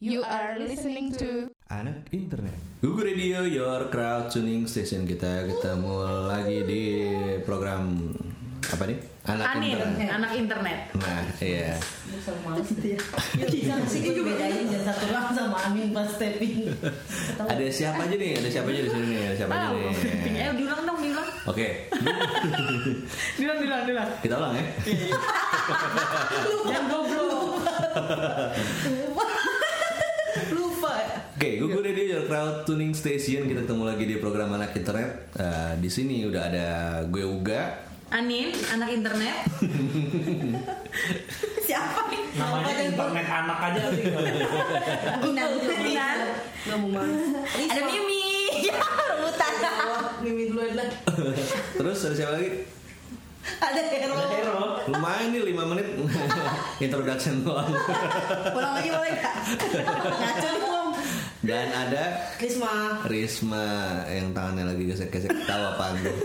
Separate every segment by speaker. Speaker 1: You are listening to
Speaker 2: Anak internet.
Speaker 3: Google Radio, your crowd tuning station kita ketemu lagi di program apa nih? Anak
Speaker 4: Anin,
Speaker 3: internet.
Speaker 4: anak internet.
Speaker 3: Nah, iya.
Speaker 4: Iya.
Speaker 5: Itu bedanya jangan satu orang sama Amin pas stepping.
Speaker 3: Ada siapa aja nih? Ada siapa aja di sini nih? Ada siapa aja
Speaker 4: Wow.
Speaker 3: nih?
Speaker 4: Eh, diulang dong, diulang.
Speaker 3: Oke,
Speaker 4: Diulang, diulang, diulang. Iya.
Speaker 3: kita ulang ya.
Speaker 4: Jangan goblok.
Speaker 5: Lupa.
Speaker 3: Oke, Google Radio your crowd tuning station kita ketemu lagi di program anak internet. Eh, di sini udah ada gue Uga.
Speaker 4: Anin, anak internet.
Speaker 5: Siapa nih?
Speaker 6: namanya
Speaker 5: Ada
Speaker 6: internet anak aja sih
Speaker 5: Ginan, Ginan.
Speaker 4: Ada Mimi. Ya, rebutan.
Speaker 5: Mimi duluan lah.
Speaker 3: Terus ada siapa lagi?
Speaker 5: Ada Hero.
Speaker 6: hero
Speaker 3: Lumayan nih 5 menit introduction doang.
Speaker 5: Pulang lagi boleh nggak? Ngaco nih, Om.
Speaker 3: Dan ada
Speaker 5: Risma.
Speaker 3: Risma yang tangannya lagi gesek-gesek tahu apaan tuh.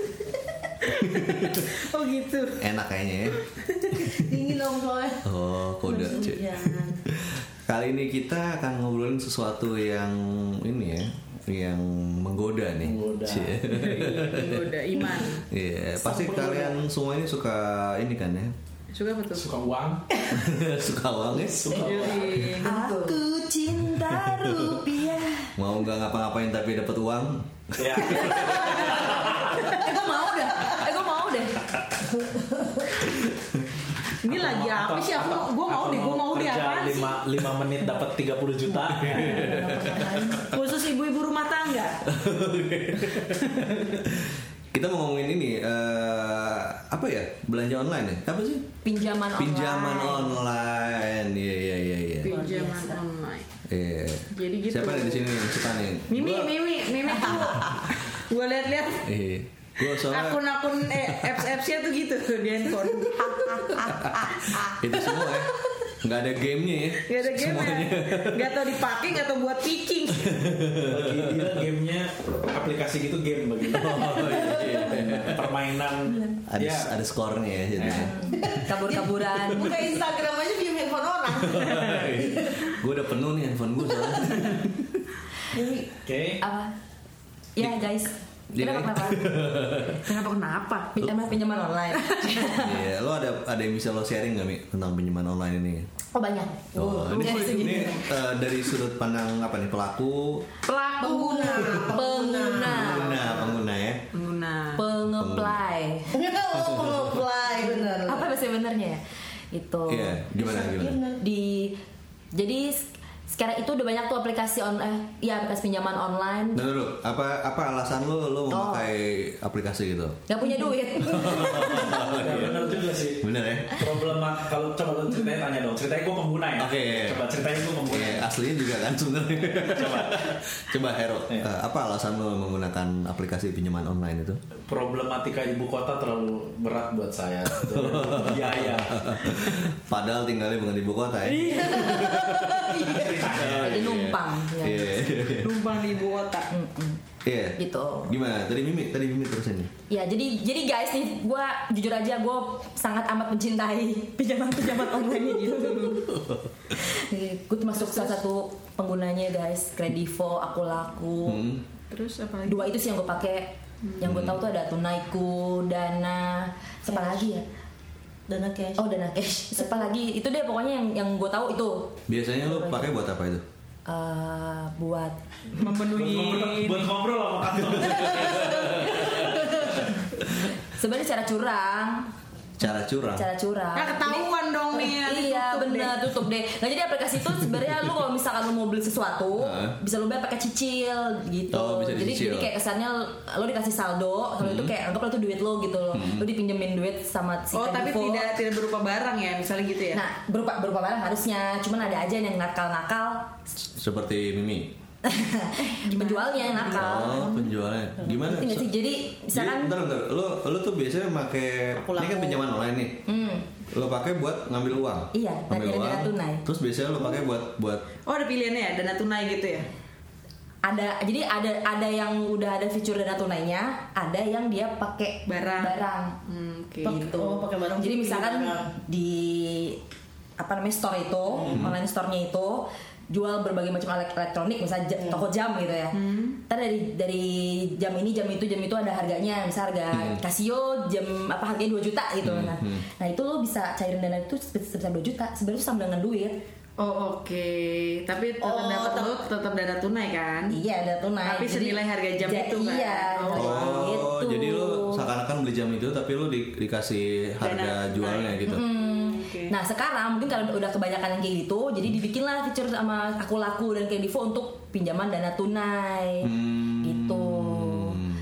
Speaker 5: Oh gitu.
Speaker 3: Enak kayaknya ya.
Speaker 5: Dingin dong soalnya. Iya.
Speaker 3: Oh, kode cuy.
Speaker 5: Jangan.
Speaker 3: Kali ini kita akan ngobrolin sesuatu yang ini ya, yang menggoda nih.
Speaker 6: Menggoda.
Speaker 3: Cie.
Speaker 4: Udah, Iman.
Speaker 3: Iya, pasti kalian semua ini suka ini kan ya.
Speaker 4: Suka apa tuh?
Speaker 6: suka uang
Speaker 3: suka uang ya.
Speaker 4: Iya. Yoi.
Speaker 5: Aku cinta rupiah.
Speaker 3: Mau nggak ngapa-ngapain tapi dapat uang.
Speaker 6: ya
Speaker 5: Eh, gue mau dah. Eh, gue mau deh.
Speaker 4: Ini lagi apa sih? Aku gue mau deh, gue mau deh
Speaker 6: kerja
Speaker 4: apa sih? Iya.
Speaker 6: lima lima menit dapat 30 juta
Speaker 4: Khusus ibu-ibu rumah tangga.
Speaker 3: Kita mau ngomongin ini eh, apa ya? Belanja online ya? Apa sih?
Speaker 5: Pinjaman online.
Speaker 3: Pinjaman online. Iya, iya, iya, iya.
Speaker 4: Pinjaman online.
Speaker 3: Iya.
Speaker 4: Jadi gitu.
Speaker 3: Siapa ada di sini yang suka nih?
Speaker 4: Mimi,
Speaker 3: Gua-
Speaker 4: Mimi, Mimi tuh. Gue lihat-lihat
Speaker 3: Iya. Gue soalnya
Speaker 4: akun-akun eh, apps-appsnya tuh gitu di handphone.
Speaker 3: itu semua ya. Nggak ada gamenya ya.
Speaker 4: Gak ada game ya
Speaker 3: Semuanya.
Speaker 4: Gak tau dipakai Gak tau buat pitching
Speaker 6: bagi dia gamenya aplikasi gitu game bagi dia.
Speaker 4: Oh, iya,
Speaker 6: permainan
Speaker 3: Ada,
Speaker 6: ya
Speaker 3: ada skornya ya jadinya.
Speaker 4: Eh.
Speaker 5: kabur-kaburan buka Instagram aja diem handphone orang
Speaker 3: gue udah penuh nih handphone gue soalnya.
Speaker 5: jadi
Speaker 6: oke
Speaker 5: apa ya guys
Speaker 3: Di-
Speaker 5: kenapa kenapa
Speaker 4: Kenapa kenapa
Speaker 5: pinjaman pinjaman online
Speaker 3: Iya, lo ada ada yang bisa lo sharing gak Mi tentang pinjaman online ini?
Speaker 5: oh banyak
Speaker 3: Oh,
Speaker 4: iya,
Speaker 3: ini,
Speaker 5: Dari segi-
Speaker 3: ini eh, dari sudut pandang apa nih pelaku,
Speaker 4: Pelaku
Speaker 5: pengguna pengguna
Speaker 3: pengguna,
Speaker 4: Ah.
Speaker 3: pengguna ya.
Speaker 4: Pengguna
Speaker 7: pengeplay
Speaker 5: ngeplay bener
Speaker 7: apa bahasa benernya ya itu
Speaker 4: Oh.
Speaker 3: Iya, gimana gimana?
Speaker 7: di jadi s- sekarang itu udah banyak tuh aplikasi on eh ya aplikasi pinjaman online
Speaker 3: Nah, dulu, apa apa alasan lo lo
Speaker 4: Oh.
Speaker 3: memakai aplikasi gitu? Iya,
Speaker 7: nggak punya duit
Speaker 4: Oh,
Speaker 6: ya,
Speaker 4: iya.
Speaker 6: benar juga sih
Speaker 3: Bener ya?
Speaker 6: problema kalau coba lu ceritain tanya dong ceritain gue pengguna ya
Speaker 3: Oke.
Speaker 6: coba ceritain gue pengguna
Speaker 3: Iya, aslinya juga kan sebenarnya.
Speaker 6: coba
Speaker 3: Coba Hero,
Speaker 6: Iya.
Speaker 3: eh, apa alasan lo menggunakan aplikasi pinjaman online itu?
Speaker 6: problematika ibu kota terlalu berat buat saya Iya, biaya
Speaker 4: Iya.
Speaker 3: Padahal tinggalnya bukan di ibu kota ya. Iya.
Speaker 7: jadi Iya, numpang ya.
Speaker 3: Iya.
Speaker 4: Numpang di ibu kota
Speaker 7: Gitu.
Speaker 3: Gimana? Tadi Mimi, tadi Mimi terus ini.
Speaker 7: ya jadi jadi guys nih gue jujur aja gue sangat amat mencintai pinjaman pinjaman online gitu gue termasuk salah satu penggunanya guys kredivo aku laku
Speaker 3: Hmm.
Speaker 4: Terus apa lagi
Speaker 7: dua itu sih yang gue pakai yang gue tahu tuh ada tunaiku dana siapa lagi ya
Speaker 5: dana cash
Speaker 7: oh dana cash siapa lagi itu deh pokoknya yang yang gue tahu itu
Speaker 3: Biasanya lo pakai buat apa itu?
Speaker 7: eh, buat
Speaker 4: Memenuhi
Speaker 6: buat ngobrol sama kantor
Speaker 7: sebenarnya cara curang
Speaker 3: Cara curang.
Speaker 7: cara curang
Speaker 4: Nah ketahuan dong nih nanti
Speaker 7: iya
Speaker 4: tutup deh.
Speaker 7: bener tutup deh nah jadi aplikasi itu sebenarnya lu kalau misalkan lu mau beli sesuatu
Speaker 3: Heeh.
Speaker 7: bisa lu bayar pakai cicil gitu
Speaker 3: Oh, bisa
Speaker 7: jadi,
Speaker 3: dicicil.
Speaker 7: jadi
Speaker 3: Hmm.
Speaker 7: kayak kesannya lu dikasih saldo kalau itu kayak anggap lu itu duit lu gitu loh lu dipinjemin duit sama si
Speaker 4: Oh tapi
Speaker 7: kredivo.
Speaker 4: tidak tidak berupa barang ya Misalnya gitu ya
Speaker 7: Nah, berupa berupa barang harusnya, cuman ada aja yang nakal-nakal
Speaker 3: Seperti Mimi.
Speaker 7: penjualnya yang nakal.
Speaker 3: Oh, penjualnya. Gimana?
Speaker 7: Ngerti nggak sih? Jadi
Speaker 3: Jadi,
Speaker 7: misalkan
Speaker 3: bentar, bentar. Lo, lo tuh biasanya pakai ini kan pinjaman online nih.
Speaker 7: hmm,
Speaker 3: Lo pakai buat ngambil uang.
Speaker 7: Iya,
Speaker 3: ngambil
Speaker 7: dana-
Speaker 3: uang.
Speaker 7: dana tunai.
Speaker 3: Terus biasanya lo pakai buat buat
Speaker 4: Oh ada pilihannya ya Dana tunai gitu ya
Speaker 7: ada jadi ada ada yang udah ada fitur dana tunainya, ada yang dia pakai
Speaker 4: Barang.
Speaker 7: barang.
Speaker 4: Hmm oke
Speaker 5: Pakai-
Speaker 7: Gitu.
Speaker 5: oh, pakai barang.
Speaker 7: Jadi misalkan di apa namanya store itu, online store-nya itu jual berbagai macam elek- elektronik misalnya ja- toko jam gitu ya. Ntar dari dari jam ini jam itu jam itu ada harganya, misal harga Casio jam apa harganya 2 juta gitu. Nah, nah itu lo bisa cairin dana itu sebesar 2 juta. Sebenarnya itu sama dengan duit.
Speaker 5: Oh oke, tapi tetap
Speaker 7: Oh,
Speaker 5: dapat
Speaker 7: tetap-
Speaker 5: lu tetap dana tunai kan?
Speaker 7: Iya, ada tunai.
Speaker 5: Tapi
Speaker 7: Jadi-
Speaker 5: senilai harga jam
Speaker 7: ja-
Speaker 5: itu kan?
Speaker 7: Iya.
Speaker 5: Oh,
Speaker 3: Oh,
Speaker 7: gitu.
Speaker 3: jadi lu seakan-akan beli jam itu tapi lu di- dikasih harga
Speaker 5: Dana.
Speaker 3: jualnya gitu.
Speaker 5: Oke.
Speaker 7: Nah sekarang mungkin kalau udah kebanyakan yang kayak gitu, jadi dibikinlah fitur sama aku laku dan kayak Divo untuk pinjaman dana tunai
Speaker 3: Hmm.
Speaker 7: gitu.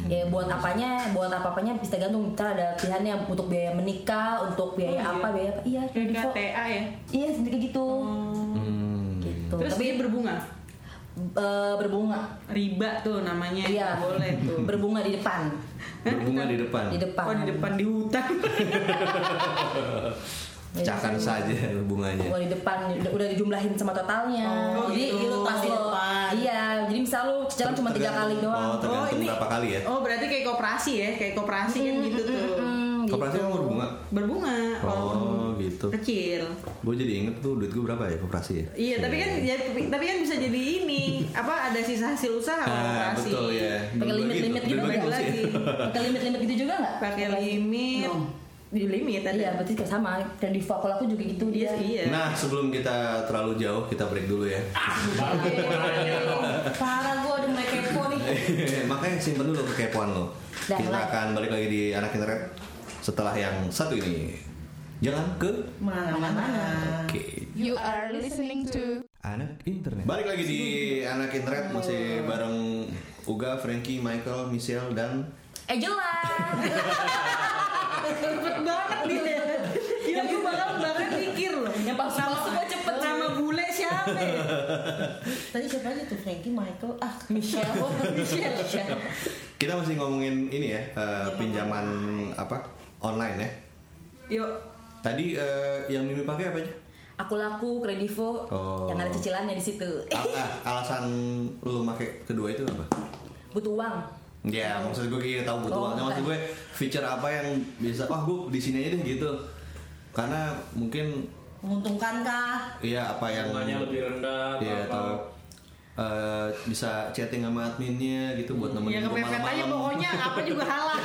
Speaker 7: Ya buat apanya, buat apa-apanya bisa gantung. Ntar ada pilihannya untuk biaya menikah, untuk biaya
Speaker 5: Oh, iya.
Speaker 7: apa, biaya apa. Iya, kayak Divo.
Speaker 5: KTA ya.
Speaker 7: Iya, kayak gitu.
Speaker 3: Hmm.
Speaker 7: Gitu.
Speaker 5: Terus
Speaker 7: Tapi
Speaker 5: dia berbunga.
Speaker 7: eh, berbunga,
Speaker 5: Riba tuh namanya.
Speaker 7: Iya.
Speaker 5: Nggak Boleh tuh.
Speaker 7: berbunga di depan,
Speaker 3: Berbunga di depan.
Speaker 7: di depan.
Speaker 5: Oh di depan di hutan.
Speaker 7: Iya,
Speaker 3: Cakan saja bunganya.
Speaker 7: Kalau di depan udah- udah dijumlahin sama totalnya.
Speaker 5: Iya. Oh,
Speaker 7: jadi
Speaker 5: gitu.
Speaker 7: lu pas
Speaker 5: Di
Speaker 7: lo-
Speaker 5: depan.
Speaker 7: Iya, jadi misal lu jalan cuma tiga
Speaker 3: Tergantung-
Speaker 7: kali doang.
Speaker 3: Oh, tergantung
Speaker 5: Oh, ini-
Speaker 3: berapa kali ya?
Speaker 5: Oh berarti kayak koperasi ya, kayak koperasi kan gitu tuh.
Speaker 7: Hmm, gitu.
Speaker 3: Koperasi emang berbunga?
Speaker 5: Berbunga.
Speaker 3: Oh, gitu.
Speaker 5: Kecil.
Speaker 3: Gue jadi inget tuh duit gue berapa ya koperasi ya?
Speaker 5: Iya, tapi kan ya, tapi kan bisa jadi ini apa ada sisa hasil usaha kalau
Speaker 3: Ah,
Speaker 5: koperasi.
Speaker 3: betul ya.
Speaker 7: Pakai
Speaker 3: Dulu
Speaker 7: limit-limit gitu,
Speaker 3: Dulu
Speaker 7: pakai
Speaker 3: gitu sih.
Speaker 5: lagi.
Speaker 7: Pakai limit-limit gitu juga nggak?
Speaker 5: Pakai limit.
Speaker 7: No.
Speaker 5: Di limit ada.
Speaker 7: Iya, berarti kayak sama. Dan di fakul aku juga gitu dia.
Speaker 5: Iya, iya.
Speaker 3: Nah, sebelum kita terlalu jauh, kita break dulu ya.
Speaker 7: Iya. Parah gue udah mulai kepo nih.
Speaker 3: Makanya simpen dulu kekepoan lo.
Speaker 7: Dah,
Speaker 3: Kita
Speaker 7: lah.
Speaker 3: akan balik lagi di anak internet setelah yang satu ini. Jangan ke.
Speaker 5: Mana mana.
Speaker 3: Oke.
Speaker 1: You are listening to
Speaker 3: Anak internet. Balik lagi di anak internet masih bareng Uga, Frankie, Michael, Michelle dan
Speaker 7: Eh jelas.
Speaker 5: cepet banget dia Gila gue Iya, bakal bahkan mikir loh
Speaker 7: Yang palsu-palsu gua cepet.
Speaker 5: Nama bule siapa ya?
Speaker 4: Tadi siapa aja tuh Frankie, Michael, ah
Speaker 7: Michelle. Michelle.
Speaker 3: kita masih ngomongin ini ya, eh,
Speaker 7: Iya,
Speaker 3: pinjaman apa? Online ya.
Speaker 5: Yuk
Speaker 3: Tadi eh, yang Mimi pakai apa aja?
Speaker 7: Aku laku kredivo
Speaker 3: Oh.
Speaker 7: yang ada cicilannya di situ. Eh,
Speaker 3: Al- ah, alasan lu pakai kedua itu apa?
Speaker 7: Butuh uang.
Speaker 3: Ya, maksud gue kayak tahu butuh
Speaker 7: Oh,
Speaker 3: uangnya. Maksud gue feature apa yang bisa wah gue di sini aja deh gitu. Karena mungkin
Speaker 4: menguntungkan kah?
Speaker 3: ya apa yang
Speaker 6: Bunganya lebih rendah
Speaker 3: Iya,
Speaker 6: apa
Speaker 3: atau eh, bisa chatting sama adminnya gitu buat
Speaker 5: Ya
Speaker 3: nemenin gue
Speaker 5: kepepet aja pokoknya apa juga halal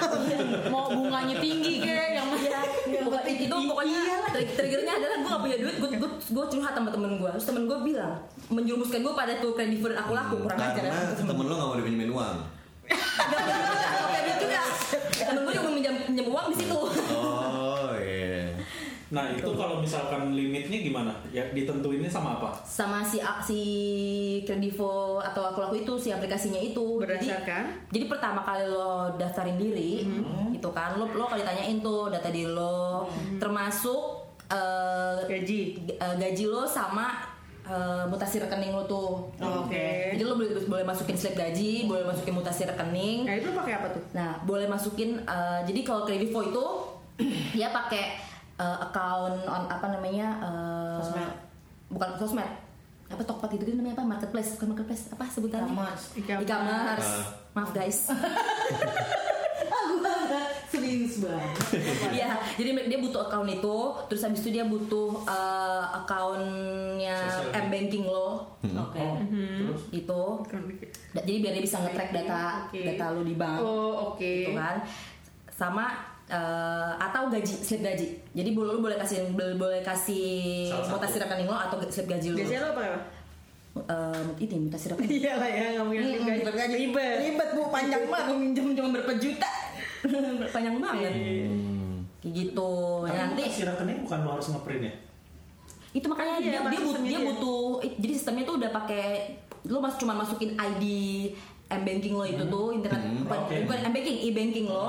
Speaker 5: Mau bunganya tinggi kek yang Iya
Speaker 7: Iya, bukan
Speaker 5: penting
Speaker 7: itu pokoknya
Speaker 5: iyalah.
Speaker 7: trig- triggernya adalah gue gak punya duit, gue gue gue curhat sama temen gue, terus temen gue bilang menjurumuskan gue pada tuh kredivo dan aku laku kurang ajar.
Speaker 3: Karena
Speaker 7: ya.
Speaker 3: temen lo gak mau dipinjemin uang.
Speaker 7: Kayak gitu ya. Temen gue juga minjam minjam uang di situ.
Speaker 3: Oh iya.
Speaker 6: Nah itu kalau misalkan limitnya gimana? Ya ditentuinnya sama apa?
Speaker 7: sama si a- si kredivo atau aku laku itu si aplikasinya itu
Speaker 5: Berdasarkan? Mm-hmm.
Speaker 7: jadi, jadi pertama kali lo daftarin diri gitu kan lo lo kalau ditanyain tuh data diri lo termasuk eh,
Speaker 5: Gaji
Speaker 7: g- eh, gaji lo sama eh, mutasi rekening lo tuh
Speaker 5: Oke.
Speaker 7: jadi lo boleh boleh masukin slip gaji boleh masukin mutasi rekening
Speaker 5: Nah itu pakai apa tuh?
Speaker 7: Nah, boleh masukin eh, jadi kalau Kredivo itu dia pakai eh, account on apa namanya? eh,
Speaker 4: Sosmed.
Speaker 7: Bukan sosmed. Apa Tokped gitu gitu namanya apa? Marketplace, bukan marketplace. Apa sebutannya?
Speaker 4: E-commerce. Ah.
Speaker 7: E-commerce. E-commerce. Maaf guys.
Speaker 4: Serius banget.
Speaker 7: Iya, jadi dia butuh account itu, terus habis itu dia butuh eh, accountnya m
Speaker 6: Sosial.
Speaker 7: banking lo
Speaker 4: Oke.
Speaker 6: Terus
Speaker 7: gitu. Da- Jadi biar dia bisa nge-track data
Speaker 5: Oke.
Speaker 7: data lo di bank.
Speaker 5: Oh oke
Speaker 7: gitu kan sama eh, atau gaji slip gaji jadi boleh lu boleh kasih boleh, boleh kasih
Speaker 6: Salah satu.
Speaker 7: mutasi rekening lo atau slip gaji lo
Speaker 5: Biasanya lo pakai apa?
Speaker 7: Eh, ini mutasi rekening
Speaker 5: Iya lah ya nggak mungkin
Speaker 7: Mm-mm,
Speaker 5: gaji
Speaker 7: slip gaji.
Speaker 5: Ribet
Speaker 7: ribet bu panjang banget Gua minjem cuma berapa juta panjang banget
Speaker 5: Iya.
Speaker 7: kayak gitu nanti
Speaker 6: si rekening bukan lo harus ngeprint ya?
Speaker 7: itu makanya
Speaker 5: Iya,
Speaker 7: dia dia, but-
Speaker 5: sistemnya
Speaker 7: dia
Speaker 5: dia.
Speaker 7: butuh eh, jadi sistemnya tuh udah pakai lo mas cuma masukin ID m banking lo itu tuh internet bukan,
Speaker 6: Oke.
Speaker 7: bukan m banking e banking lo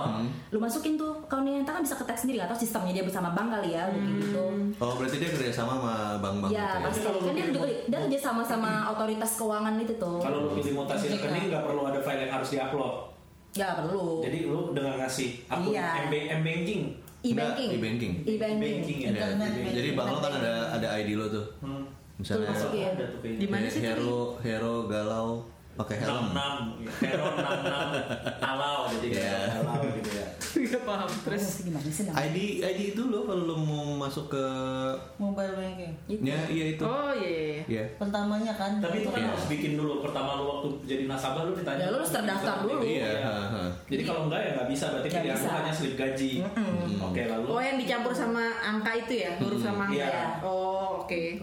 Speaker 7: lo masukin tuh accountnya ntar kan bisa ketek sendiri atau sistemnya dia bersama bank kali ya kayak gitu
Speaker 3: Oh berarti dia kerja sama sama bank-bank
Speaker 7: ya
Speaker 3: gitu
Speaker 7: pasti
Speaker 6: Jadi kalau
Speaker 7: kan dia
Speaker 6: lu-
Speaker 7: juga dia kerja sama sama otoritas keuangan itu tuh
Speaker 6: Kalau lo pilih mutasi
Speaker 7: Oh. Iya.
Speaker 6: rekening nggak perlu ada file yang harus diupload.
Speaker 7: ya perlu
Speaker 6: Jadi lo dengan ngasih akun
Speaker 7: Iya.
Speaker 6: MB- M-Banking.
Speaker 7: e banking
Speaker 3: Nggak, e-banking.
Speaker 7: e banking
Speaker 6: Banking
Speaker 3: ya.
Speaker 6: ya.
Speaker 3: Ya, Jadi bank lo kan ada ada ID lo tuh.
Speaker 6: Hmm.
Speaker 3: Misalnya
Speaker 7: Tuh, masukin.
Speaker 6: Ada tuh gitu. kayaknya.
Speaker 5: Di mana
Speaker 3: he-
Speaker 5: sih tuh?
Speaker 3: Hero, hero galau pakai helm.
Speaker 6: enam enam teror enam enam alau jadi
Speaker 3: Iya.
Speaker 6: kayak alau gitu ya
Speaker 5: Gak paham terus
Speaker 7: Terus gimana sih namanya?
Speaker 3: ID ID itu loh kalau lo mau masuk ke
Speaker 4: mobile banking
Speaker 7: Itu.
Speaker 3: ya iya itu.
Speaker 5: Oh iya iya, iya.
Speaker 3: Iya.
Speaker 4: pertamanya kan
Speaker 6: tapi itu kan
Speaker 3: Iya.
Speaker 6: harus bikin dulu pertama lu waktu jadi nasabah lu ditanya
Speaker 7: Ya, lu harus terdaftar dulu.
Speaker 3: Iya, ha-ha.
Speaker 6: jadi kalau enggak ya nggak bisa berarti
Speaker 7: Nggak
Speaker 6: pilihan lu
Speaker 7: bisa.
Speaker 6: hanya slip gaji oke lalu
Speaker 5: Oh yang dicampur sama angka itu ya huruf sama angka.
Speaker 6: Iya.
Speaker 5: ya? Oh oke.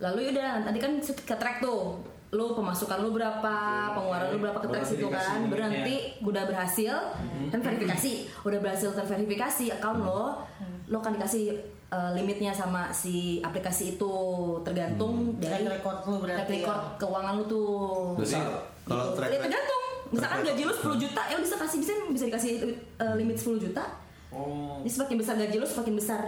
Speaker 7: Lalu udah tadi kan ke track tuh lu pemasukan lu berapa, pengeluaran lu berapa ke
Speaker 6: Baru
Speaker 7: track situ
Speaker 6: dikasih
Speaker 7: kan
Speaker 6: duitnya.
Speaker 7: berhenti udah berhasil kan verifikasi udah berhasil terverifikasi account lo lo kan dikasih eh, limitnya sama si aplikasi itu tergantung dari
Speaker 4: Track record lu berarti
Speaker 7: track record keuangan lu tuh
Speaker 3: Berarti kalau
Speaker 7: Gitu.
Speaker 3: track
Speaker 7: Ya, tergantung misalkan
Speaker 3: track
Speaker 7: gaji lu 10 juta ya lu bisa kasih bisa bisa dikasih eh, limit 10 juta
Speaker 6: oh
Speaker 7: ini semakin besar gaji lu semakin besar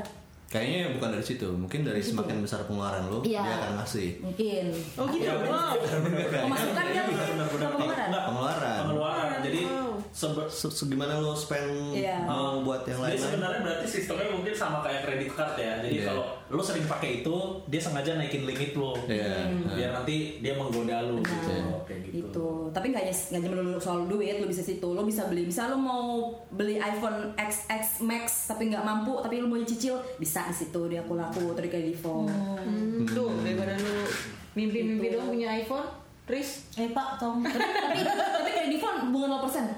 Speaker 3: Kayaknya bukan dari situ, mungkin dari semakin besar pengeluaran lo,
Speaker 7: Iya.
Speaker 3: dia akan ngasih
Speaker 7: mungkin
Speaker 5: Oh gitu.
Speaker 6: Iya,
Speaker 5: Wow. Oh,
Speaker 7: pemasukan kan
Speaker 6: benar-benar
Speaker 7: pengeluaran
Speaker 5: Hmm,
Speaker 7: Oh.
Speaker 3: pengeluaran.
Speaker 6: pengeluaran jadi sebe-
Speaker 3: Se- Segimana lo spend
Speaker 7: Iya.
Speaker 3: mau buat yang
Speaker 6: Jadi
Speaker 3: lain-lain?
Speaker 6: sebenarnya berarti sistemnya mungkin sama kayak kredit card ya. Jadi
Speaker 3: Iya.
Speaker 6: kalau lo sering pakai itu, dia sengaja naikin limit lo.
Speaker 3: Iya.
Speaker 5: Hmm.
Speaker 6: Biar nanti dia menggoda lo gitu.
Speaker 7: Hmm. Nah,
Speaker 6: Kayak gitu.
Speaker 7: itu tapi nggak hanya nggak cuma melulu soal duit lo bisa situ lo bisa beli misal lo mau beli iPhone XX Max tapi nggak mampu tapi lo mau cicil bisa di situ dia aku laku dari Kredivo
Speaker 5: Hmm, Tuh daripada lu mimpi-mimpi
Speaker 7: Gitu.
Speaker 5: dong punya iPhone, Tris.
Speaker 4: eh pak tolong
Speaker 7: tapi tapi Kredivo bunga 0% persen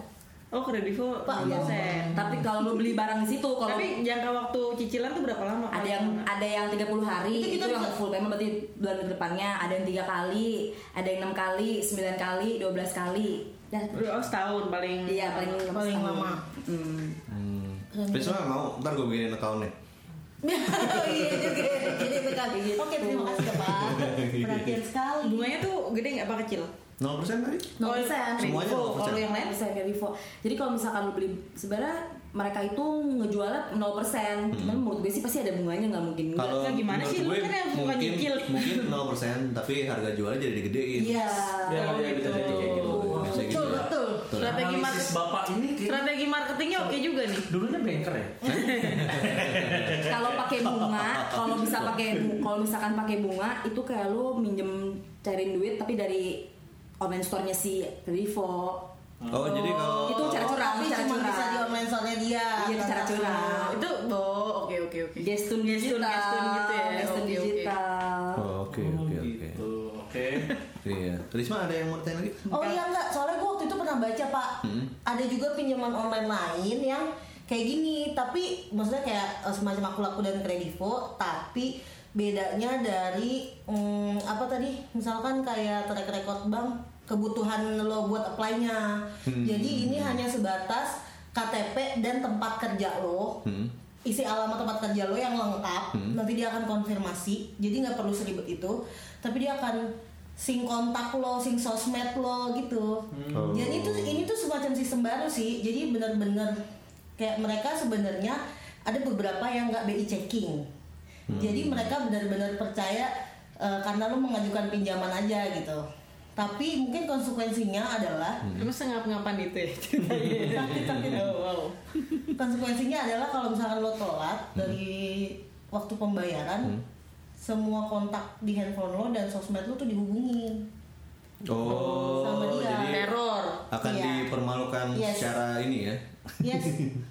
Speaker 5: Oh kredivo
Speaker 7: pak
Speaker 5: iya, Sen.
Speaker 7: tapi kalau lo beli barang di situ kalau
Speaker 5: Tapi jangka waktu cicilan tuh berapa lama?
Speaker 7: ada yang ada yang 30 hari itu,
Speaker 4: Itu kita
Speaker 7: yang
Speaker 4: bisa-
Speaker 7: full payment berarti bulan depannya ada yang tiga kali ada yang enam kali 9 kali 12 kali dan
Speaker 4: Ya,
Speaker 5: Udah, oh, setahun paling.
Speaker 7: iya paling lama
Speaker 4: Paling
Speaker 7: setahun.
Speaker 4: lama.
Speaker 7: Hmm.
Speaker 3: Hmm. Besok nggak mau, ntar gue bikinin accountnya.
Speaker 4: oh iya juga
Speaker 7: ya.
Speaker 4: jadi itu kan oke terima kasih ya pak perhatian sekali
Speaker 5: Bunganya tuh gede nggak apa kecil?
Speaker 3: 0% tadi?
Speaker 7: nol persen
Speaker 3: Semuanya nol persen.
Speaker 5: Kalau yang lain?
Speaker 7: persen jadi kalau misalkan lo beli sebenarnya mereka itu ngejualnya 0% cuman menurut gue sih pasti ada bunganya nggak mungkin nggak.
Speaker 3: Kalau
Speaker 5: Nah, gimana
Speaker 3: menurut
Speaker 5: sih? Lu
Speaker 3: gue,
Speaker 5: kan yang suka
Speaker 3: mungkin
Speaker 5: nyicil.
Speaker 3: mungkin 0% tapi harga jualnya jadi digedein.
Speaker 7: iya
Speaker 6: Ya,
Speaker 5: Oh,
Speaker 6: ya, bisa
Speaker 5: gitu.
Speaker 6: jadi kayak gitu.
Speaker 3: Bisa gitu
Speaker 4: betul
Speaker 3: ya.
Speaker 4: betul
Speaker 5: Strategi
Speaker 6: Analisis
Speaker 5: market-
Speaker 6: bapak ini kayak-
Speaker 5: Strategi marketingnya oke juga nih.
Speaker 6: dulunya banker ya.
Speaker 7: kalau pakai bunga kalau bisa pakai bu- kalau misalkan pakai bunga itu kayak lu minjem cariin duit tapi dari online store-nya si Revo
Speaker 3: Oh, jadi kalau
Speaker 7: itu cara curang
Speaker 4: tapi
Speaker 7: cara
Speaker 4: cuma
Speaker 7: curang
Speaker 4: bisa di online store-nya dia
Speaker 7: Iya, cara
Speaker 4: Karena-
Speaker 7: curang.
Speaker 5: Ah, Itu oh oke oke oke.
Speaker 7: gestun digital
Speaker 5: Gestun- gestun gitu ya.
Speaker 7: gestun
Speaker 5: Oke, oke.
Speaker 7: digital
Speaker 3: Oh, oke
Speaker 6: Oh,
Speaker 3: oke oke.
Speaker 6: gitu. Oke.
Speaker 3: Iya. Risma ada yang mau tanya lagi?
Speaker 4: Oh iya enggak, soalnya gue waktu itu pernah baca pak Ada juga pinjaman online lain yang kayak gini Tapi maksudnya kayak eh, semacam aku laku dan kredivo Tapi bedanya dari mm, apa tadi misalkan kayak track record bank kebutuhan lo buat apply-nya jadi ini hanya sebatas KTP dan tempat kerja lo isi alamat tempat kerja lo yang lengkap nanti dia akan konfirmasi jadi nggak perlu seribet itu tapi dia akan sing kontak lo sing sosmed lo gitu
Speaker 3: Oh.
Speaker 4: jadi itu ini tuh semacam sistem baru sih jadi bener-bener kayak mereka sebenarnya ada beberapa yang nggak BI checking
Speaker 3: Hmm.
Speaker 4: jadi mereka benar-benar percaya eh, karena lo mengajukan pinjaman aja gitu tapi mungkin konsekuensinya adalah
Speaker 5: Emang sengap-ngapan itu ya ceritanya. Oh, wow.
Speaker 4: konsekuensinya adalah kalau misalkan lo telat
Speaker 3: Hmm.
Speaker 4: dari waktu pembayaran semua kontak di handphone lo dan sosmed lo tuh dihubungi Sama
Speaker 3: Oh,
Speaker 4: dia.
Speaker 3: jadi
Speaker 5: Teror.
Speaker 3: akan
Speaker 4: Iya.
Speaker 3: dipermalukan
Speaker 4: Yes.
Speaker 3: secara ini ya.
Speaker 4: yes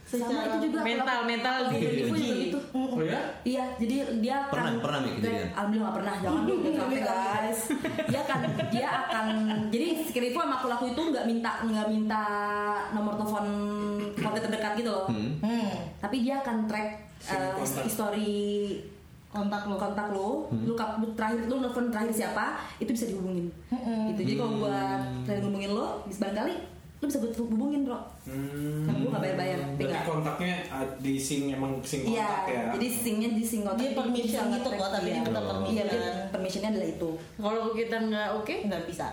Speaker 7: sama
Speaker 4: Iya, secara
Speaker 7: itu juga
Speaker 5: Mental
Speaker 7: kalau-
Speaker 5: mental
Speaker 7: kalau
Speaker 5: gitu.
Speaker 7: Kredivo juga gitu
Speaker 6: Oh ya?
Speaker 7: Iya, jadi dia
Speaker 3: Pernah,
Speaker 7: akan
Speaker 3: pernah, Mik, gitu kan? kejadian?
Speaker 7: Kayak, Alhamdulillah nggak pernah, jangan dong, jangan sampai, guys. Dia akan, dia akan, jadi skripo sama pelaku itu nggak minta, nggak minta nomor telepon kontak terdekat gitu loh.
Speaker 4: Hmm,
Speaker 7: Tapi dia akan track eh, history
Speaker 4: kontak lo
Speaker 7: kontak lo,
Speaker 3: Hmm.
Speaker 7: lu kap- lu terakhir lu nelfon terakhir siapa, itu bisa dihubungin. Gitu. Jadi kalau gua
Speaker 3: Hmm.
Speaker 7: terakhir ngubungin lo, bisa barangkali lu bisa gue hubungin, Bro.
Speaker 6: Hmm.
Speaker 7: Kamu nggak bayar-bayar,
Speaker 6: Berarti
Speaker 7: tinggal.
Speaker 6: kontaknya ah, di sing emang sing
Speaker 7: Iya,
Speaker 6: kontak ya.
Speaker 7: jadi singnya di sing kontak
Speaker 4: Dia
Speaker 7: itu
Speaker 4: permission
Speaker 7: bisa
Speaker 4: gitu
Speaker 7: nge-track
Speaker 4: kok, tapi
Speaker 7: dia.
Speaker 4: dia minta permission.
Speaker 7: Iya, dia permissionnya adalah itu.
Speaker 5: Kalau kita nggak oke,
Speaker 4: nggak bisa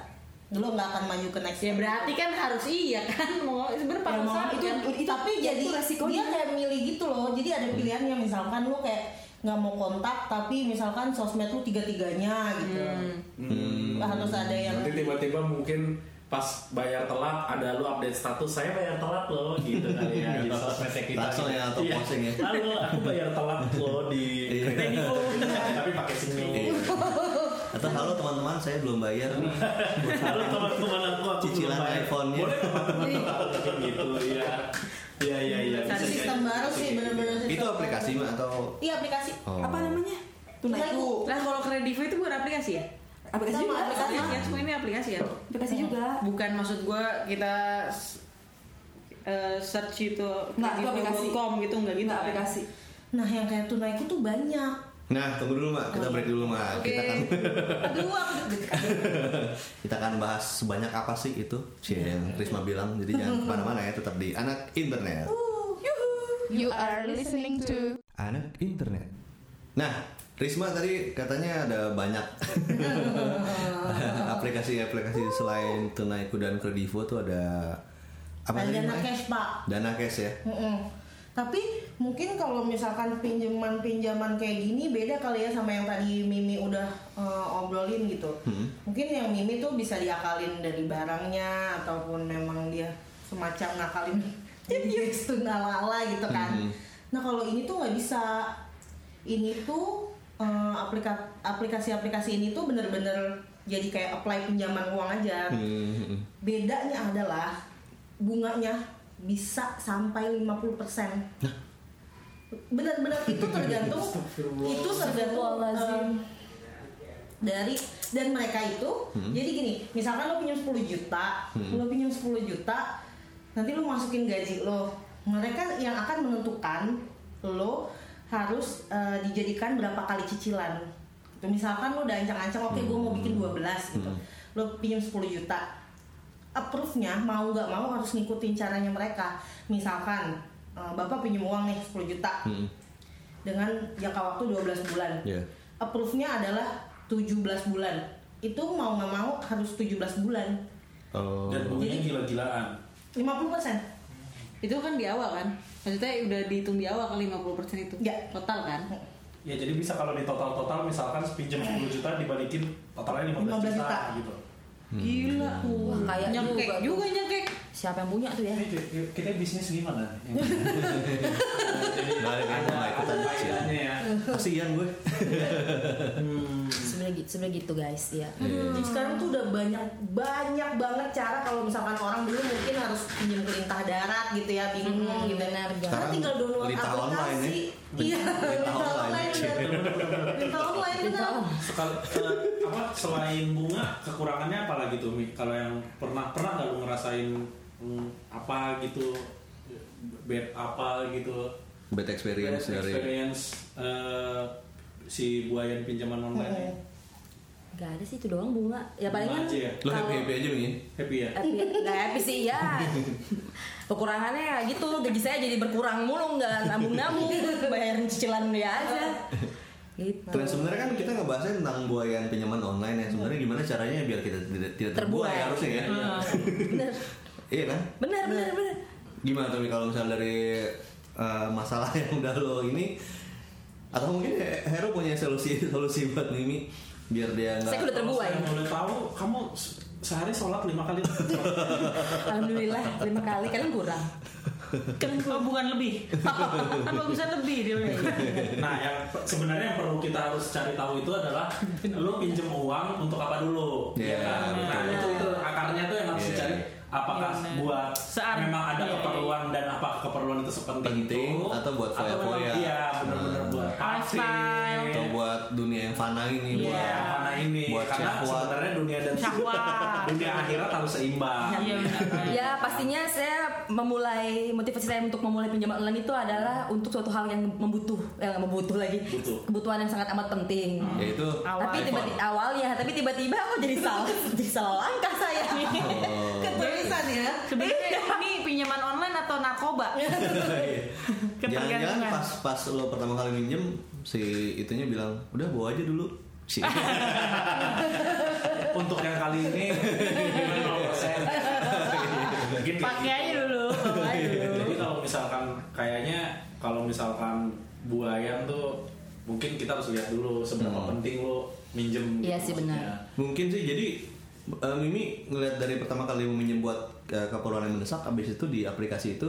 Speaker 4: lo nggak akan maju ke next
Speaker 5: ya
Speaker 4: step.
Speaker 5: berarti kan harus iya kan mau sebenarnya kan?
Speaker 4: Ya, mau-
Speaker 5: pakai
Speaker 4: itu, itu- tapi jadi
Speaker 7: itu resikonya.
Speaker 4: dia kayak milih gitu loh jadi ada pilihannya misalkan lo kayak nggak mau kontak tapi misalkan sosmed lo tiga tiganya gitu harus ada yang
Speaker 6: Nanti Hmm. tiba-tiba mungkin pas bayar telat ada lu update status saya bayar telat loh gitu kali ya di sosmednya kita.
Speaker 3: Langsung ya, atau
Speaker 6: Iya.
Speaker 3: posting ya.
Speaker 6: Halo, aku bayar telat loh di
Speaker 3: Iya.
Speaker 6: Kredivo. tapi pakai senyum.
Speaker 3: Atau halo teman-teman saya belum bayar nih.
Speaker 6: Halo teman-teman aku aku
Speaker 3: Cicilan
Speaker 6: belum bayar.
Speaker 3: iPhone-nya.
Speaker 6: Boleh nggak, Pak, teman-teman Kayak gitu ya. Iya iya iya. bisa
Speaker 4: Ada sistem
Speaker 6: jadi.
Speaker 4: baru sih bener-bener sistem
Speaker 3: Itu
Speaker 4: baru.
Speaker 3: aplikasi Mak, atau
Speaker 4: Iya aplikasi.
Speaker 3: Oh.
Speaker 5: Apa namanya?
Speaker 4: Tunaiku.
Speaker 5: Lah kalau kredivo itu bukan aplikasi ya?
Speaker 7: Aplikasi
Speaker 4: Sama,
Speaker 7: juga.
Speaker 4: aplikasi.
Speaker 5: Ya, semua ini aplikasi ya.
Speaker 7: Aplikasi juga.
Speaker 5: Bukan maksud gue kita eh, search itu
Speaker 7: Nggak, itu aplikasi.
Speaker 5: kredivo.com gitu nggak gitu.
Speaker 7: Enggak
Speaker 5: kan?
Speaker 7: aplikasi.
Speaker 4: Nah yang kayak tunaiku tuh banyak.
Speaker 3: Nah, tunggu dulu Mak, kita break dulu Mak.
Speaker 5: Oke.
Speaker 3: Kita akan
Speaker 4: Aduh aku
Speaker 3: kita akan bahas sebanyak apa sih itu. Cie,
Speaker 6: Iya.
Speaker 3: yang Risma bilang. Jadi jangan kemana mana ya, tetap di anak internet.
Speaker 1: You are listening to
Speaker 3: Anak internet. Nah, Risma tadi katanya ada banyak aplikasi-aplikasi selain Tunaiku dan Kredivo tuh ada apa
Speaker 4: Ada
Speaker 3: tadi,
Speaker 4: dana
Speaker 3: Mak?
Speaker 4: cash pak.
Speaker 3: Dana cash ya.
Speaker 4: Mm-mm. Tapi mungkin kalau misalkan pinjaman-pinjaman kayak gini beda kali ya sama yang tadi Mimi udah eh, obrolin gitu. Mungkin yang Mimi tuh bisa diakalin dari barangnya ataupun memang dia semacam ngakalin itu ala-ala gitu kan. Nah kalau ini tuh nggak bisa. Ini tuh eh, aplika- aplikasi-aplikasi ini tuh bener-bener jadi kayak apply pinjaman uang aja
Speaker 3: Hmm.
Speaker 4: bedanya adalah bunganya bisa sampai 50% benar-benar itu tergantung itu tergantung
Speaker 7: Astagfirullahaladzim.
Speaker 4: em, dari dan mereka itu jadi gini misalkan lo pinjam 10 juta lo pinjam 10 juta nanti lo masukin gaji lo mereka yang akan menentukan lo harus eh, dijadikan berapa kali cicilan Gitu, misalkan lo udah ancang-ancang oke gue mau bikin 12 gitu lo pinjam 10 juta approve-nya mau nggak mau harus ngikutin caranya mereka. Misalkan eh, bapak pinjam uang nih 10 juta
Speaker 3: Hmm.
Speaker 4: dengan jangka waktu 12 bulan.
Speaker 3: Iya.
Speaker 4: Approve-nya adalah 17 bulan. Itu mau nggak mau harus 17 bulan.
Speaker 3: Oh.
Speaker 6: Dan bunyinya gila-gilaan.
Speaker 4: 50%
Speaker 5: Itu kan di awal kan? Maksudnya udah dihitung di awal kan, ke 50% itu.
Speaker 4: Iya.
Speaker 5: Total kan?
Speaker 6: Ya jadi bisa kalau di total-total misalkan pinjam 10 juta dibalikin totalnya 15,
Speaker 4: 15
Speaker 6: juta,
Speaker 4: juta.
Speaker 6: gitu.
Speaker 5: Gila.
Speaker 7: Hmm. Wah, kayak
Speaker 5: nyekek
Speaker 7: juga tuh.
Speaker 5: juga nyekek.
Speaker 7: Siapa yang punya tuh ya?
Speaker 6: Ini ju- ju- kita bisnis gimana? Jadi
Speaker 3: Nggak ada yang mau ikutan Nah, kecil.
Speaker 6: faedahnya ya.
Speaker 3: Kasihan gue.
Speaker 7: Sebenarnya gitu, sebenarnya gitu guys, ya.
Speaker 3: Hmm. Iya.
Speaker 4: Jadi sekarang tuh udah banyak banyak banget cara kalau misalkan orang dulu mungkin harus pinjam ke lintah darat gitu ya bingung gitu.
Speaker 7: benar, guys.
Speaker 4: Sekarang tinggal download
Speaker 3: Lintah
Speaker 4: aplikasi.
Speaker 3: online ya.
Speaker 4: Iya,
Speaker 3: Lintah
Speaker 4: lintah
Speaker 3: online.
Speaker 4: online. benar. Lintah online benar.
Speaker 6: Sekal- eh, apa selain bunga kekurangannya apa lagi tuh Mi? Kalau yang pernah pernah nggak lu ngerasain mm, apa gitu bad apa gitu
Speaker 3: Bad experience
Speaker 6: Bad
Speaker 3: dari
Speaker 6: experience, eh, si buayan pinjaman online ini.
Speaker 7: Gak ada sih itu doang bunga. Ya palingan
Speaker 6: aja ya?
Speaker 3: lo happy happy aja nih.
Speaker 6: happy ya
Speaker 7: Happy, nggak happy sih ya kekurangannya ya gitu gaji saya jadi berkurang mulu nggak nabung nabung bayarin cicilan dia aja gitu
Speaker 3: Dan sebenarnya kan kita ngebahasnya tentang buayan pinjaman online ya. Sebenarnya gimana caranya biar kita tidak tidak terbuai
Speaker 7: Terbuai. Hmm.
Speaker 3: harusnya ya.
Speaker 7: bener
Speaker 3: Iya kan?
Speaker 7: bener bener bener
Speaker 3: Gimana tuh Mi, kalau misalnya dari eh, masalah yang udah lo ini atau mungkin ya Hero punya solusi solusi buat Mimi biar dia
Speaker 7: saya kan
Speaker 3: nggak
Speaker 7: udah terbuai
Speaker 6: Kalau saya boleh tahu kamu se- sehari sholat lima kali
Speaker 7: alhamdulillah lima kali kalian kurang
Speaker 5: Kan bukan lebih. Apa bisa lebih dia?
Speaker 6: nah yang pe- sebenarnya yang perlu kita harus cari tahu itu adalah lu pinjem uang untuk apa dulu
Speaker 3: Iya,
Speaker 6: kan? nah
Speaker 3: betul.
Speaker 6: itu, itu akarnya tuh yang harus
Speaker 3: Iya.
Speaker 6: dicari apakah
Speaker 5: Iya, benar.
Speaker 6: buat
Speaker 5: Saat-
Speaker 6: memang ada
Speaker 5: iya,
Speaker 6: keperluan dan apa keperluan itu sepenting
Speaker 3: Penting,
Speaker 6: itu
Speaker 3: atau buat
Speaker 6: memang-
Speaker 3: foya-foya.
Speaker 6: iya benar-benar
Speaker 3: Hmm.
Speaker 6: buat
Speaker 5: Lifestyle.
Speaker 3: atau buat dunia yang fana ini
Speaker 6: Iya,
Speaker 3: buat
Speaker 6: mana ini
Speaker 3: Buat
Speaker 6: karena
Speaker 3: syahwat.
Speaker 6: sebenarnya dunia dan
Speaker 5: Syahwat.
Speaker 6: dunia akhirat harus seimbang
Speaker 5: Iya benar.
Speaker 7: ya pastinya saya memulai motivasi saya untuk memulai pinjaman online itu adalah untuk suatu hal yang membutuh eh, membutuh lagi
Speaker 6: Butuh.
Speaker 7: kebutuhan yang sangat amat penting
Speaker 3: yaitu
Speaker 5: Awal.
Speaker 7: Tapi tiba-tiba awalnya, tapi tiba-tiba aku jadi salah, jadi salah langkah saya.
Speaker 4: Ketulisan ya.
Speaker 5: Sebenarnya ini pinjaman online atau narkoba?
Speaker 3: jangan-jangan
Speaker 5: Ketergantungan.
Speaker 3: pas pas lo pertama kali minjem si itunya bilang udah bawa aja dulu si
Speaker 6: untuk yang kali ini Iya. 50%. Mungkin kayak
Speaker 5: Pakai aja dulu, bawa aja dulu.
Speaker 6: Jadi kalau misalkan kayaknya kalau misalkan buayan tuh mungkin kita harus lihat dulu seberapa penting lo minjem. gitu
Speaker 7: Iya sih,
Speaker 6: maksudnya.
Speaker 7: benar.
Speaker 3: mungkin sih jadi Eh, Mimi ngeliat dari pertama kali meminjam buat eh, keperluan yang mendesak, abis itu di aplikasi itu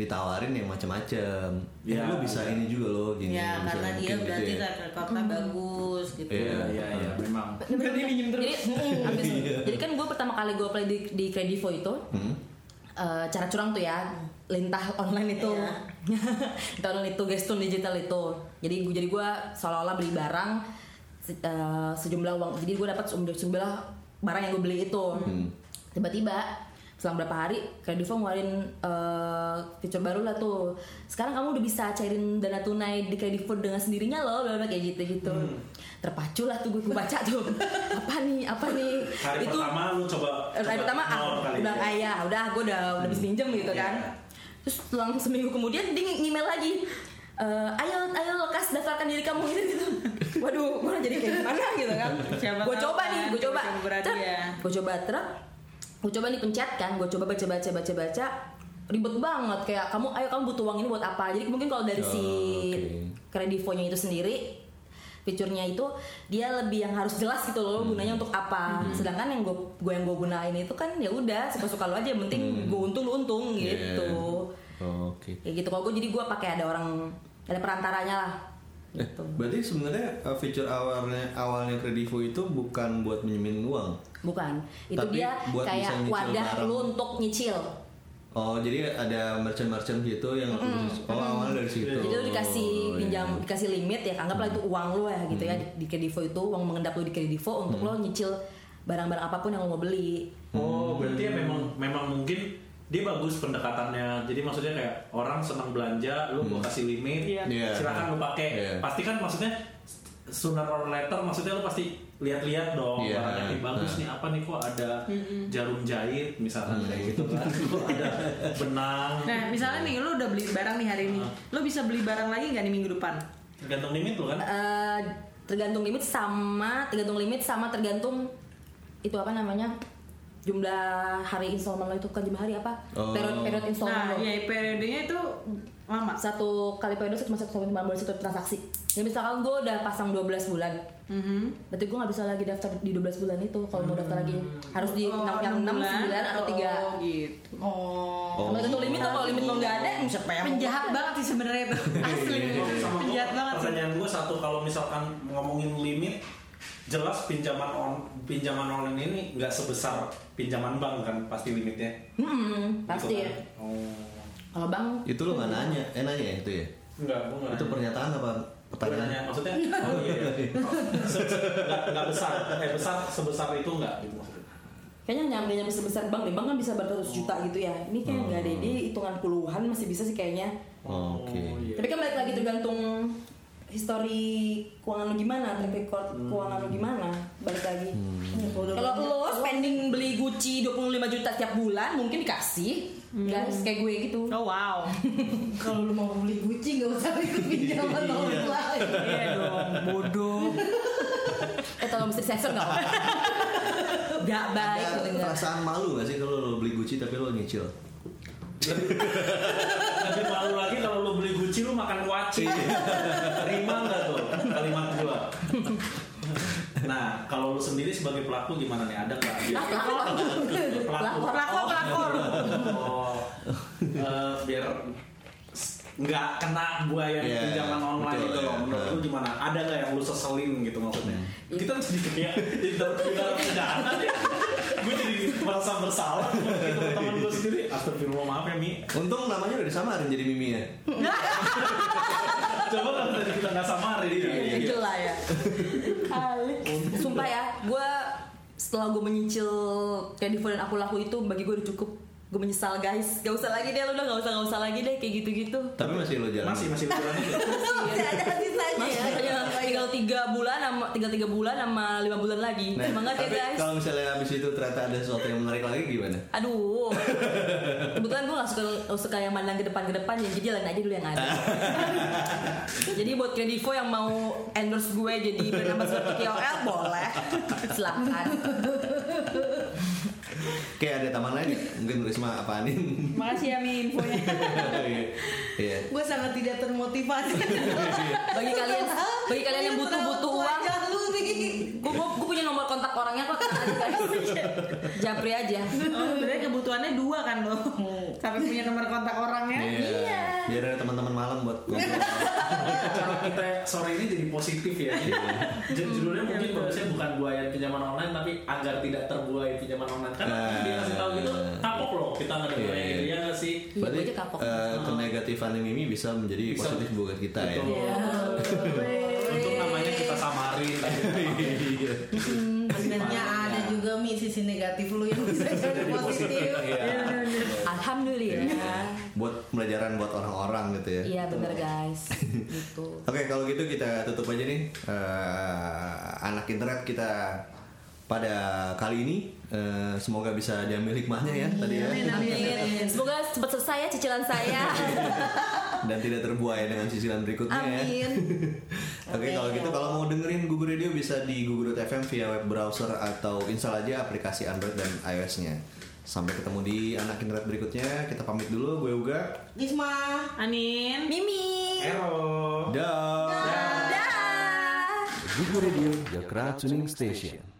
Speaker 3: ditawarin yang macam-macam. Ya,
Speaker 6: Hmm. Ya,
Speaker 3: lo bisa
Speaker 6: ya.
Speaker 3: ini juga lo gini.
Speaker 4: ya
Speaker 3: bisa
Speaker 4: karena dia
Speaker 3: bikin gitu
Speaker 4: berarti
Speaker 3: ya.
Speaker 7: kan
Speaker 4: track recordnya bagus gitu
Speaker 3: Iya.
Speaker 6: iya iya memang.
Speaker 7: Jadi minjem terus. Jadi, abis- jadi kan gue pertama kali gue play di, di Kredivo itu
Speaker 3: Hmm.
Speaker 7: eh, cara curang tuh ya lintah online itu, lintah online itu gestun digital itu. Jadi gue jadi gue seolah-olah beli barang se- eh, sejumlah uang. Jadi gue dapat sejumlah, sejumlah barang yang gue beli itu. Tiba-tiba selang berapa hari Kredivo ngeluarin eh, fitur baru lah tuh sekarang kamu udah bisa cairin dana tunai di Kredivo dengan sendirinya loh bla bla, kayak gitu gitu
Speaker 6: Hmm.
Speaker 7: terpacu lah tuh gue gue baca tuh apa nih apa nih
Speaker 6: Hari pertama lu coba.
Speaker 7: hari
Speaker 6: coba
Speaker 7: pertama ah,
Speaker 6: nol kali
Speaker 7: udah
Speaker 6: ya.
Speaker 7: ah, ya udah gue udah udah bisa minjem gitu
Speaker 6: Iya.
Speaker 7: kan terus selang seminggu kemudian dia nge- email lagi Eh, ayo ayo lekas daftarkan diri kamu gitu gitu waduh gue jadi kayak gimana gitu kan
Speaker 5: Siapa
Speaker 7: gue
Speaker 5: tahu
Speaker 7: coba
Speaker 5: kan,
Speaker 7: nih gue coba
Speaker 5: coba-coba berani ya.
Speaker 7: gue coba truk gue coba nih pencet kan gue coba baca baca baca baca ribet banget kayak kamu ayo kamu butuh uang ini buat apa jadi mungkin kalau dari si
Speaker 3: Oh, Oke.
Speaker 7: kredivonya itu sendiri fiturnya itu dia lebih yang harus jelas gitu loh
Speaker 3: Hmm.
Speaker 7: gunanya untuk apa sedangkan yang gue yang gue gunain itu kan ya udah suka suka lo aja yang
Speaker 3: Hmm.
Speaker 7: penting gue untung lu untung
Speaker 3: Yeah.
Speaker 7: gitu
Speaker 3: Oh, Oke.
Speaker 7: ya gitu kalau gue jadi gue pakai ada orang ada perantaranya lah
Speaker 3: Eh,
Speaker 7: gitu
Speaker 3: berarti sebenarnya eh, fitur awalnya awalnya Kredivo itu bukan buat minjemin uang.
Speaker 7: bukan itu
Speaker 3: Tapi
Speaker 7: dia
Speaker 3: buat bisa
Speaker 7: kayak
Speaker 3: nyicil
Speaker 7: wadah
Speaker 3: barang.
Speaker 7: lu untuk nyicil
Speaker 3: Oh, jadi ada merchant-merchant gitu yang khusus- oh awalnya dari situ.
Speaker 7: Jadi lu dikasih
Speaker 3: Oh,
Speaker 7: pinjam,
Speaker 3: iya. Hmm.
Speaker 7: dikasih limit ya, anggaplah itu uang lu ya gitu ya di- di kredivo itu uang mengendap lu di kredivo untuk lo nyicil barang-barang apapun yang lo mau beli.
Speaker 6: Oh, berarti ya memang memang mungkin dia bagus pendekatannya. Jadi maksudnya kayak orang senang belanja, lu gua kasih limit,
Speaker 5: Iya.
Speaker 3: Hmm. Iya.
Speaker 6: silakan lu pakai.
Speaker 3: Iya.
Speaker 6: Pasti kan maksudnya sooner or later maksudnya lu pasti lihat-lihat dong
Speaker 3: Iya.
Speaker 6: barangnya nih bagus nih apa nih kok ada jarum jahit misalnya kayak
Speaker 3: Hmm.
Speaker 6: gitu kan. Kok ada benang.
Speaker 5: Nah, misalnya nih lu udah beli barang nih hari ini. Lu bisa beli barang lagi nggak nih minggu depan?
Speaker 6: Tergantung limit lu kan.
Speaker 7: Eh, tergantung limit sama tergantung limit sama tergantung itu apa namanya jumlah hari installment lo itu kan jumlah hari apa
Speaker 3: Oh.
Speaker 7: periode periode installment
Speaker 5: Nah,
Speaker 7: lo.
Speaker 5: ya periodenya itu lama.
Speaker 7: Satu kali periode cuma satu sampai bulan satu transaksi. Ya misalkan gue udah pasang 12 bulan,
Speaker 5: Mhm.
Speaker 7: Berarti gue gak bisa lagi daftar di 12 bulan itu kalau mau daftar lagi harus di
Speaker 5: Oh,
Speaker 7: yang- yang 6,
Speaker 5: bulan
Speaker 7: 9 atau
Speaker 5: oh,
Speaker 7: 3
Speaker 5: Oh, gitu. Hmm.
Speaker 4: oh
Speaker 7: Sampai tentu limit tuh kalau limit lo gak ada siapa yang
Speaker 5: Penjahat banget sih sebenarnya itu. Asli.
Speaker 6: iya. Sama gua,
Speaker 5: Penjahat Iya. banget sih.
Speaker 6: pertanyaan gue satu kalau misalkan ngomongin limit jelas pinjaman on pinjaman online ini nggak sebesar pinjaman bank kan pasti limitnya
Speaker 7: Hmm, pasti.
Speaker 6: Gitu kan? oh
Speaker 7: Kalau bang
Speaker 3: Itu lo nggak nanya, eh nanya ya itu ya?
Speaker 6: Enggak, gue nggak
Speaker 3: Itu
Speaker 6: nanya.
Speaker 3: pernyataan apa pertanyaan?
Speaker 6: Pertanyaan, maksudnya oh, iya, iya. Se- se- nggak nggak besar eh besar sebesar itu nggak gitu maksudnya
Speaker 7: kayaknya nyampe nyampe sebesar bank, nih bank kan bisa beratus juta gitu ya. Ini kayak nggak
Speaker 5: Hmm.
Speaker 7: ada ini hitungan puluhan masih bisa sih kayaknya.
Speaker 3: Oh, Oke.
Speaker 6: Oh, iya.
Speaker 7: Tapi kan balik lagi tergantung histori keuangan lo gimana, track record
Speaker 5: Hmm.
Speaker 7: keuangan lo gimana, balik lagi. Kalau lo spending beli Gucci 25 juta tiap bulan mungkin dikasih,
Speaker 5: Hmm.
Speaker 7: nggak harus kayak gue gitu.
Speaker 5: Oh wow.
Speaker 4: kalau lu mau beli Gucci nggak usah ikut
Speaker 3: Iya,
Speaker 4: pinjaman orang lain
Speaker 5: Iya dong, bodoh.
Speaker 7: Eh tolong mesti sensor nggak Om? Nggak baik
Speaker 3: Ada
Speaker 7: dengar.
Speaker 3: perasaan malu gak sih kalau lo beli Gucci tapi lo nyicil?
Speaker 6: Tapi malu lagi kalau lu beli Gucci lu makan kuaci.
Speaker 3: Iya.
Speaker 6: Terima nggak tuh kalimat gua. Nah, kalau lu sendiri sebagai pelaku gimana nih? Ada nggak? Biar- Pelaku.
Speaker 5: Pelakor, pelakor.
Speaker 6: Oh, Eh, biar s- nggak kena gua yang
Speaker 3: Iya,
Speaker 6: pinjaman online
Speaker 3: betul,
Speaker 6: itu loh.
Speaker 3: iya. Hmm.
Speaker 6: Menurut lu gimana? Ada nggak yang lu seselin gitu maksudnya? Kita jadi kayak jadi terpidana pidana deh. Gue jadi merasa bersalah gitu teman gue sendiri. Astagfirullah maaf ya Mi.
Speaker 3: Untung namanya udah disamarin jadi Mimi ya.
Speaker 6: Coba kalau tadi kita nggak samarin
Speaker 3: Iya,
Speaker 6: ya.
Speaker 7: Jujur lah ya. Sumpah ya, gue setelah gue menyicil Kredivo dan aku laku itu bagi gue udah cukup. Gue menyesal guys, gak usah lagi deh, lu udah gak usah gak usah lagi deh kayak gitu-gitu.
Speaker 3: Tapi masih lo jalan.
Speaker 6: Masih masih berani.
Speaker 4: Masih ada sisanya
Speaker 7: Masih hanya tinggal tiga bulan sama tinggal tiga bulan sama lima bulan lagi.
Speaker 3: Nah,
Speaker 7: Semangat ya
Speaker 3: tapi
Speaker 7: guys.
Speaker 3: kalau misalnya abis itu ternyata ada sesuatu yang menarik lagi gimana?
Speaker 7: Aduh, kebetulan gue gak suka, gak suka yang mandang ke depan ke depan, ya, jadi jalan aja dulu yang ada. jadi buat Kredivo yang mau endorse gue jadi brand ambassador KOL boleh, silakan.
Speaker 3: Kayak ada taman lain ya? Mungkin Risma apaan ini?
Speaker 5: Makasih ya Mi infonya.
Speaker 3: Iya.
Speaker 4: gue sangat tidak termotivasi
Speaker 7: Bagi kalian, bagi kalian yang butuh butuh uang,
Speaker 4: Jangan lu nih
Speaker 7: gue gue punya nomor kontak orangnya kok akan ada guys. Japri aja.
Speaker 5: Oh, sebenarnya kebutuhannya dua kan lo. Sampai punya nomor kontak orangnya.
Speaker 3: Iya. Biar ada teman-teman malam buat
Speaker 7: Iya,
Speaker 3: ngobrol.
Speaker 6: Kalau kita sore ini jadi positif ya. Jadi judulnya
Speaker 3: Hmm, iya,
Speaker 6: mungkin bagusnya bukan buayan pinjaman online tapi agar tidak terbuai pinjaman online. Karena
Speaker 3: Nah.
Speaker 6: kita kasih tahu gitu kapok loh kita nggak ada
Speaker 3: Iya,
Speaker 6: buaya
Speaker 3: iya.
Speaker 6: dia nggak sih.
Speaker 7: Iya,
Speaker 3: Berarti
Speaker 7: gua aja kapok.
Speaker 3: eh, kenegatifannya Mimi bisa menjadi
Speaker 6: Bisa.
Speaker 3: positif buat kita ya.
Speaker 6: Betul.
Speaker 7: Iya.
Speaker 6: Untuk namanya kita samarin. tapi
Speaker 3: Iya.
Speaker 4: Sebenarnya Hmm, ada juga mi sisi negatif lu yang bisa jadi positif. iya,
Speaker 7: Alhamdulillah.
Speaker 3: buat pelajaran buat orang-orang gitu ya.
Speaker 7: Iya bener guys. Gitu.
Speaker 3: Oke, kalau gitu kita tutup aja nih eh, anak internet kita pada kali ini Eh, semoga bisa diambil hikmahnya ya tadi ya
Speaker 7: Amin. Semoga cepat selesai ya cicilan saya.
Speaker 3: dan tidak terbuai dengan sisilan berikutnya ya.
Speaker 4: Amin.
Speaker 3: Oke, kalau gitu kalau mau dengerin Gugur Radio bisa di gugur.fm via web browser atau install aja aplikasi Android dan iOS-nya. Sampai ketemu di anak internet berikutnya. Kita pamit dulu, gue Uga.
Speaker 4: Isma.
Speaker 5: Anin.
Speaker 7: Mimi.
Speaker 6: Error.
Speaker 3: Dah.
Speaker 7: Dah.
Speaker 3: Gugur Radio, your crowd tuning station.